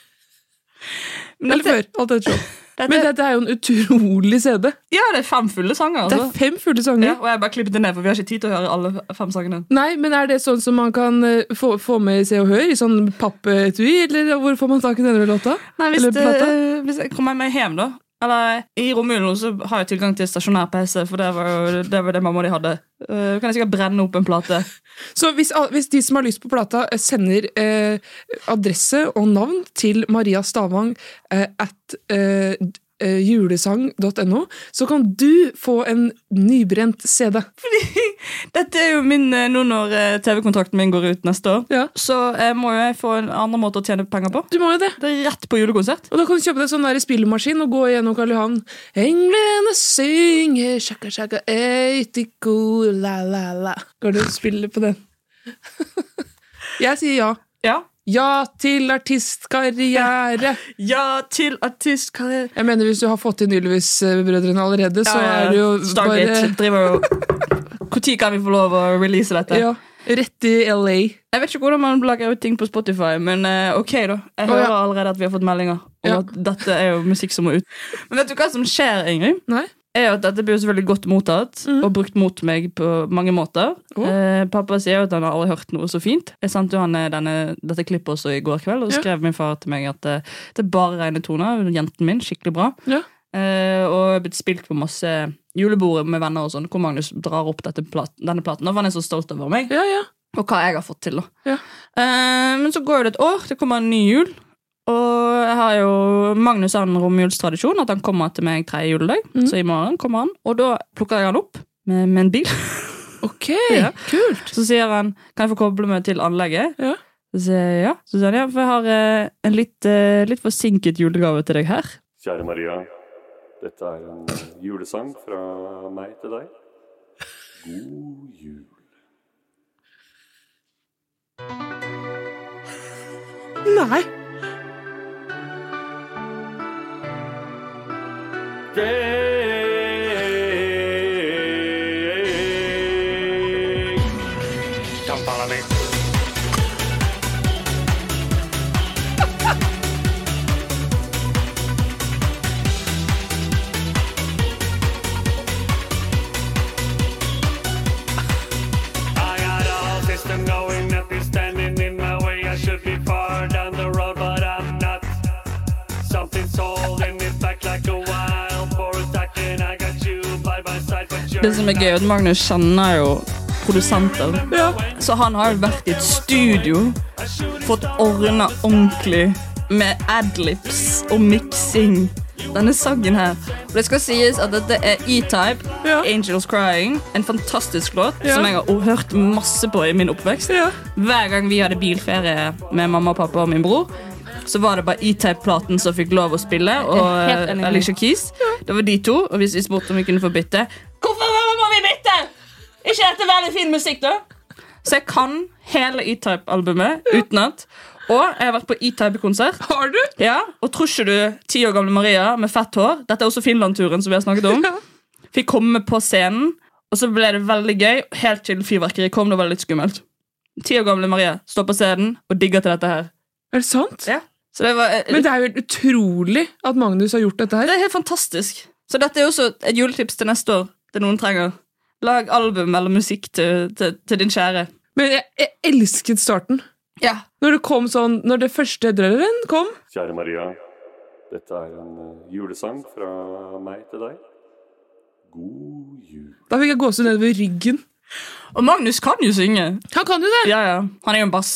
[SPEAKER 2] Eller før, alt etter sånn. Men dette er jo en utrolig CD.
[SPEAKER 1] Ja, det er fem fulle sanger.
[SPEAKER 2] Det er
[SPEAKER 1] altså.
[SPEAKER 2] fem fulle sanger.
[SPEAKER 1] Ja, og jeg bare klippet det ned, for vi har ikke tid til å høre alle fem sangene.
[SPEAKER 2] Nei, men er det sånn som man kan eh, få, få med i Se og Hør? I sånn pappetui? Eller hvor får man tak i denne låta?
[SPEAKER 1] Nei, hvis,
[SPEAKER 2] eller
[SPEAKER 1] det, eh,
[SPEAKER 2] plata?
[SPEAKER 1] hvis jeg kommer meg hjem, da Eller I romjulen så har jeg tilgang til stasjonær PC, for det var jo det, var det mamma og de hadde. Eh, kan jeg sikkert brenne opp en plate.
[SPEAKER 2] Så hvis, al- hvis de som har lyst på plata, eh, sender eh, adresse og navn til Maria Stavang eh, at eh, d- eh, julesang.no, så kan du få en nybrent CD.
[SPEAKER 1] Dette er jo min eh, Nå når eh, TV-kontrakten min går ut neste år, så eh, må jo jeg få en annen måte å tjene penger på.
[SPEAKER 2] Du må jo det.
[SPEAKER 1] Det er rett på julekonsert.
[SPEAKER 2] Og da kan du kjøpe deg sånn der spillemaskin og gå gjennom Karl Johan. Englene synger, shaka shaka, eitiko, la la la. Kan du spille på den? Jeg sier ja.
[SPEAKER 1] Ja.
[SPEAKER 2] Ja til artistkarriere!
[SPEAKER 1] Ja til artistkarriere.
[SPEAKER 2] Jeg mener, hvis du har fått inn Ylvis-brødrene allerede, så
[SPEAKER 1] Ja, ja,
[SPEAKER 2] er det jo
[SPEAKER 1] Stargate
[SPEAKER 2] bare
[SPEAKER 1] driver jo Når kan vi få lov å release dette?
[SPEAKER 2] ja, Rett i LA.
[SPEAKER 1] Jeg vet ikke hvordan man lager ut ting på Spotify, men eh, ok, da. Jeg
[SPEAKER 2] Å, ja.
[SPEAKER 1] hører allerede at vi har fått meldinger om
[SPEAKER 2] Ja.
[SPEAKER 1] at dette er jo musikk som må ut. Men vet du hva som skjer, Ingrid? Er jo at Dette blir jo selvfølgelig godt mottatt
[SPEAKER 2] Mm.
[SPEAKER 1] og brukt mot meg på mange måter.
[SPEAKER 2] Oh.
[SPEAKER 1] Eh, pappa sier jo at han har aldri hørt noe så fint. Jeg sendte jo han eh, denne, dette klippet også i går kveld, og
[SPEAKER 2] Ja.
[SPEAKER 1] så skrev min far til meg at eh, det er bare rene toner. Jenten min, skikkelig bra.
[SPEAKER 2] Ja.
[SPEAKER 1] Eh, og jeg har blitt spilt på masse julebord med venner og sånn, hvor Magnus drar opp dette plat denne platen. Og han er så stolt over meg. Og hva jeg har fått til, da. Eh, men så går det et år, det kommer en ny jul. Og jeg har jo Magnus har en romjulstradisjon at han kommer til meg tredje juledag. Så i morgen kommer han, og da plukker jeg han opp med, med en bil.
[SPEAKER 2] Ok,
[SPEAKER 1] Ja.
[SPEAKER 2] kult!
[SPEAKER 1] Så sier han kan jeg få koble meg til anlegget. Så sier jeg ja. Så sier han ja, for jeg har eh, en litt, eh, litt forsinket julegave til deg her.
[SPEAKER 11] Kjære Maria, dette er en eh, julesang fra meg til deg. God jul.
[SPEAKER 2] Nei!
[SPEAKER 12] I got a whole system going that is standing in my way. I should be far down the road, but I'm not. Something's holding me back like a wild forest attacking. I got you by my side, but you're
[SPEAKER 1] Det som er gøy, er at Magnus kjenner jo produsenter. Så han har jo vært i et studio, fått ordna ordentlig med adlibs og miksing. Denne sangen her. Og det skal sies at dette er E-Type, Angels Crying. En fantastisk låt
[SPEAKER 2] Ja.
[SPEAKER 1] som jeg har hørt masse på i min oppvekst. Hver gang vi hadde bilferie med mamma og pappa og min bror, så var det bare E-Type-platen som fikk lov å spille.
[SPEAKER 13] Jeg er helt
[SPEAKER 1] Og eh,
[SPEAKER 13] enig.
[SPEAKER 1] Alicia Keys. Det var de to. Og hvis vi spurte om vi kunne få bytte Hvorfor må vi bytte? Ikke dette veldig fin musikk, da? Så jeg kan hele E-Type-albumet utenat. Og jeg har vært på E-Type-konsert.
[SPEAKER 2] Har du?
[SPEAKER 1] Ja, Og tror ikke du ti år gamle Maria med fett hår Dette er også Finland-turen som vi har snakket om. Fikk komme på scenen, og så ble det veldig gøy. Helt til fyrverkeriet kom. Det var litt skummelt. Ti år gamle Maria står på scenen og digger til dette her.
[SPEAKER 2] Er det sant?
[SPEAKER 1] Ja. Så det var, eh,
[SPEAKER 2] Men det er jo helt utrolig at Magnus har gjort dette her.
[SPEAKER 1] Det er helt fantastisk. Så dette er jo også et juletips til neste år. Det noen trenger. Lag album eller musikk til, til, til din kjære.
[SPEAKER 2] Men jeg, jeg elsket starten. Når det kom sånn, når det første drølleren kom
[SPEAKER 11] Kjære Maria, dette er en eh, julesang fra meg til deg. God jul.
[SPEAKER 2] Da fikk jeg gåsehud nedover ryggen.
[SPEAKER 1] Og Magnus kan jo synge.
[SPEAKER 2] Han kan jo det.
[SPEAKER 1] Ja, ja. Han er jo en bass.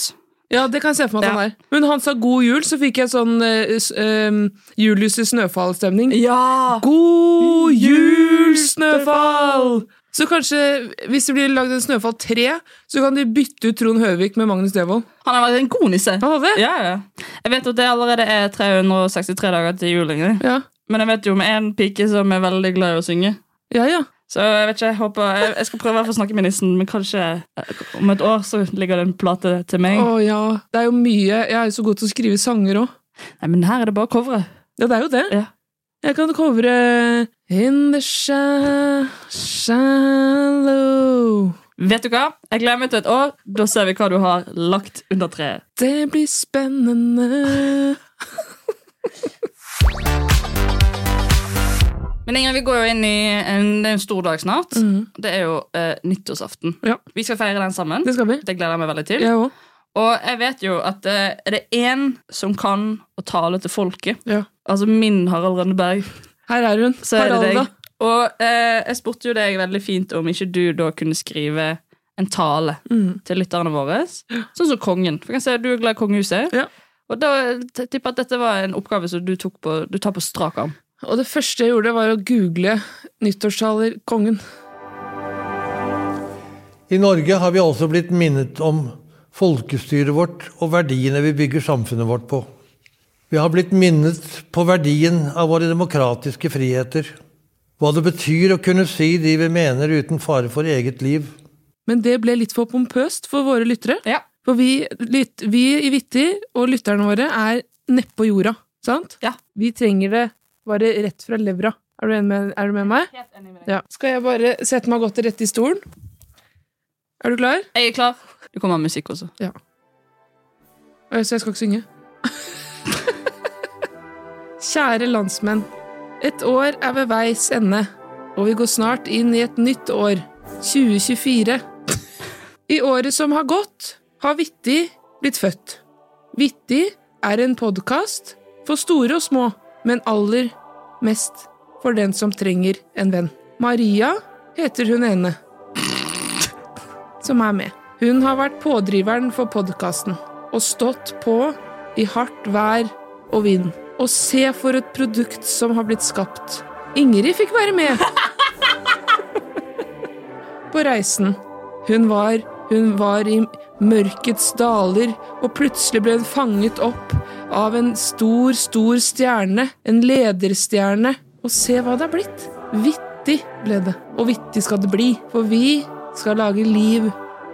[SPEAKER 2] Ja, det kan jeg se for meg at han er. Men han sa 'god jul', så fikk jeg sånn eh, s- em, Julius i snøfall-stemning.
[SPEAKER 1] Ja!
[SPEAKER 2] God jul, snøfall! Så kanskje, hvis det blir lagd en Snøfall 3, så kan de bytte ut Trond Høvik med Magnus Devold.
[SPEAKER 1] Han har vært en god nisse.
[SPEAKER 2] Han har det?
[SPEAKER 1] Ja, ja. Jeg vet at det allerede er 363 dager til jul. Ingrid. Men jeg vet jo om en pike som er veldig glad i å synge. Så jeg vet ikke, jeg håper Jeg, jeg skal prøve i hvert fall å snakke med nissen, men kanskje eh, om et år så ligger det en plate til meg.
[SPEAKER 2] Å ja. Det er jo mye Jeg er jo så god til å skrive sanger òg.
[SPEAKER 1] Nei, men her er det bare covere.
[SPEAKER 2] Ja, det er jo det. Jeg kan covre In the sha- shallow
[SPEAKER 1] Vet du hva? Jeg gleder meg til et år. Da ser vi hva du har lagt under treet.
[SPEAKER 2] Det blir spennende.
[SPEAKER 1] Men Ingrid, vi går jo inn i en, det er en stor dag snart.
[SPEAKER 2] Mhm.
[SPEAKER 1] Det er jo eh, nyttårsaften. Vi skal feire den sammen.
[SPEAKER 2] Det skal vi.
[SPEAKER 1] Det gleder jeg meg veldig til.
[SPEAKER 2] Jeg òg.
[SPEAKER 1] Og jeg vet jo at eh, er det én som kan å tale til folket,
[SPEAKER 2] Ja.
[SPEAKER 1] altså min Harald Rønneberg,
[SPEAKER 2] Her er hun.
[SPEAKER 1] så er det
[SPEAKER 2] Haralda.
[SPEAKER 1] deg. Og eh, jeg spurte jo deg veldig fint om ikke du da kunne skrive en tale
[SPEAKER 2] Mm.
[SPEAKER 1] til lytterne våre. Sånn som kongen. For jeg kan se, Du er glad i kongehuset. Og da t- tipper jeg at dette var en oppgave som du, tok på, du tar på strak arm.
[SPEAKER 2] Og det første jeg gjorde, var å google nyttårstaler kongen.
[SPEAKER 13] I Norge har vi altså blitt minnet om folkestyret vårt og verdiene vi bygger samfunnet vårt på. Vi har blitt minnet på verdien av våre demokratiske friheter. Hva det betyr å kunne si de vi mener uten fare for eget liv.
[SPEAKER 2] Men det ble litt for pompøst for våre lyttere.
[SPEAKER 1] Ja.
[SPEAKER 2] For vi, lyt, vi i Vitti og lytterne våre er nedpå jorda, sant?
[SPEAKER 1] Ja.
[SPEAKER 2] Vi trenger det bare rett fra levra. Er du, enig med, er du med meg? Ja. Skal jeg bare sette meg godt rett i stolen? Er du klar?
[SPEAKER 1] Jeg er klar. Det kommer musikk også.
[SPEAKER 2] Ja. Oi, Så jeg skal ikke synge? Kjære landsmenn. Et år er ved veis ende, og vi går snart inn i et nytt år, 2024. I året som har gått, har Vitti blitt født. Vitti er en podkast for store og små, men aller mest for den som trenger en venn. Maria heter hun ene som er med. Hun har vært pådriveren for podkasten og stått på i hardt vær og vind. Og se for et produkt som har blitt skapt. Ingrid fikk være med på reisen. Hun var, hun var i mørkets daler, og plutselig ble hun fanget opp av en stor, stor stjerne. En lederstjerne. Og se hva det er blitt. Vittig ble det. Og vittig skal det bli. For vi skal lage liv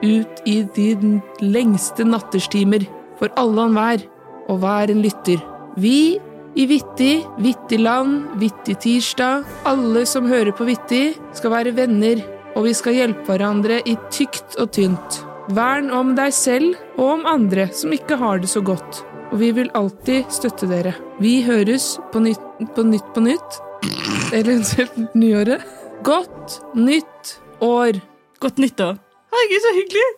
[SPEAKER 2] ut i de lengste natterstimer. For alle og enhver, og hver en lytter. Vi i Vittig, Vittigland, Vittig tirsdag. Alle som hører på Vittig, skal være venner, og vi skal hjelpe hverandre i tykt og tynt. Vern om deg selv og om andre som ikke har det så godt. Og vi vil alltid støtte dere. Vi høres på nytt på nytt, på nytt. eller eventuelt nyåret. Godt nytt år!
[SPEAKER 1] Godt nyttår! Herregud, så hyggelig!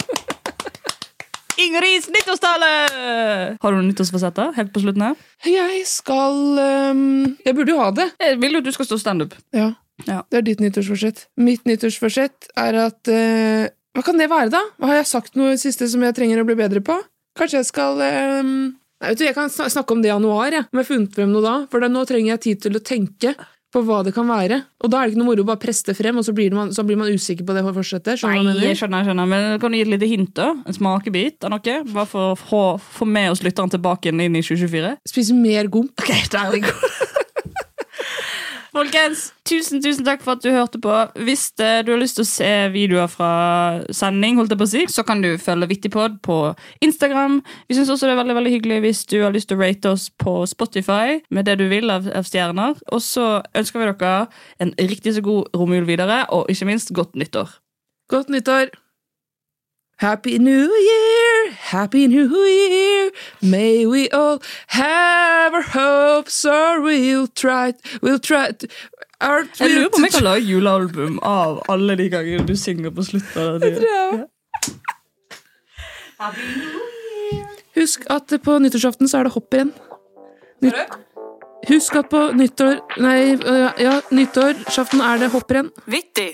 [SPEAKER 1] Ingrids nyttårstale! Har du noen nyttårsfasetter helt på slutten her?
[SPEAKER 2] Jeg skal ehm, Jeg burde jo ha det.
[SPEAKER 1] Jeg Eh, vil jo at du skal stå standup.
[SPEAKER 2] Ja.
[SPEAKER 1] Ja.
[SPEAKER 2] Det er ditt nyttårsforsett. Mitt nyttårsforsett er at eh, Hva kan det være, da? Hva Har jeg sagt noe i det siste som jeg trenger å bli bedre på? Kanskje jeg skal eh, Nei, vet du, Jeg kan sna- snakke om det i januar, jeg, om jeg har funnet frem noe da. For da, nå trenger jeg tid til å tenke på hva det kan være. Og da er det ikke noe moro å bare presse det frem, og så blir man, så blir man usikker på det
[SPEAKER 1] Nei,
[SPEAKER 2] forsettet. Skjønner du hva jeg
[SPEAKER 1] jeg
[SPEAKER 2] mener?
[SPEAKER 1] skjønner, jeg skjønner. Men kan du gi et lite hint, da? En smakebit av noe? Bare for å få, få med oss lytteren tilbake inn i 2024?
[SPEAKER 2] Spise mer gomp.
[SPEAKER 1] Folkens, tusen, tusen takk for at du hørte på. Hvis eh, du har lyst til å se videoer fra sending, holdt jeg på å si, så kan du følge Vittipod på Instagram. Vi syns også det er veldig veldig hyggelig hvis du har lyst til å rate oss på Spotify med det du vil av, av stjerner. Og så ønsker vi dere en riktig så god romjul videre, og ikke minst godt nyttår.
[SPEAKER 2] Godt nyttår! Happy New Year! Happy New Year! May we all have our hopes or we'll try We'll try to, our,
[SPEAKER 1] Jeg lurer på om jeg kan lage julealbum av alle de gangene du synger på slutten. av det.
[SPEAKER 2] Husk at på nyttårsaften så er det hopprenn. Nytt, husk at på nyttår Nei, øh, ja, nyttårsaften er det hopprenn.
[SPEAKER 14] Vittig!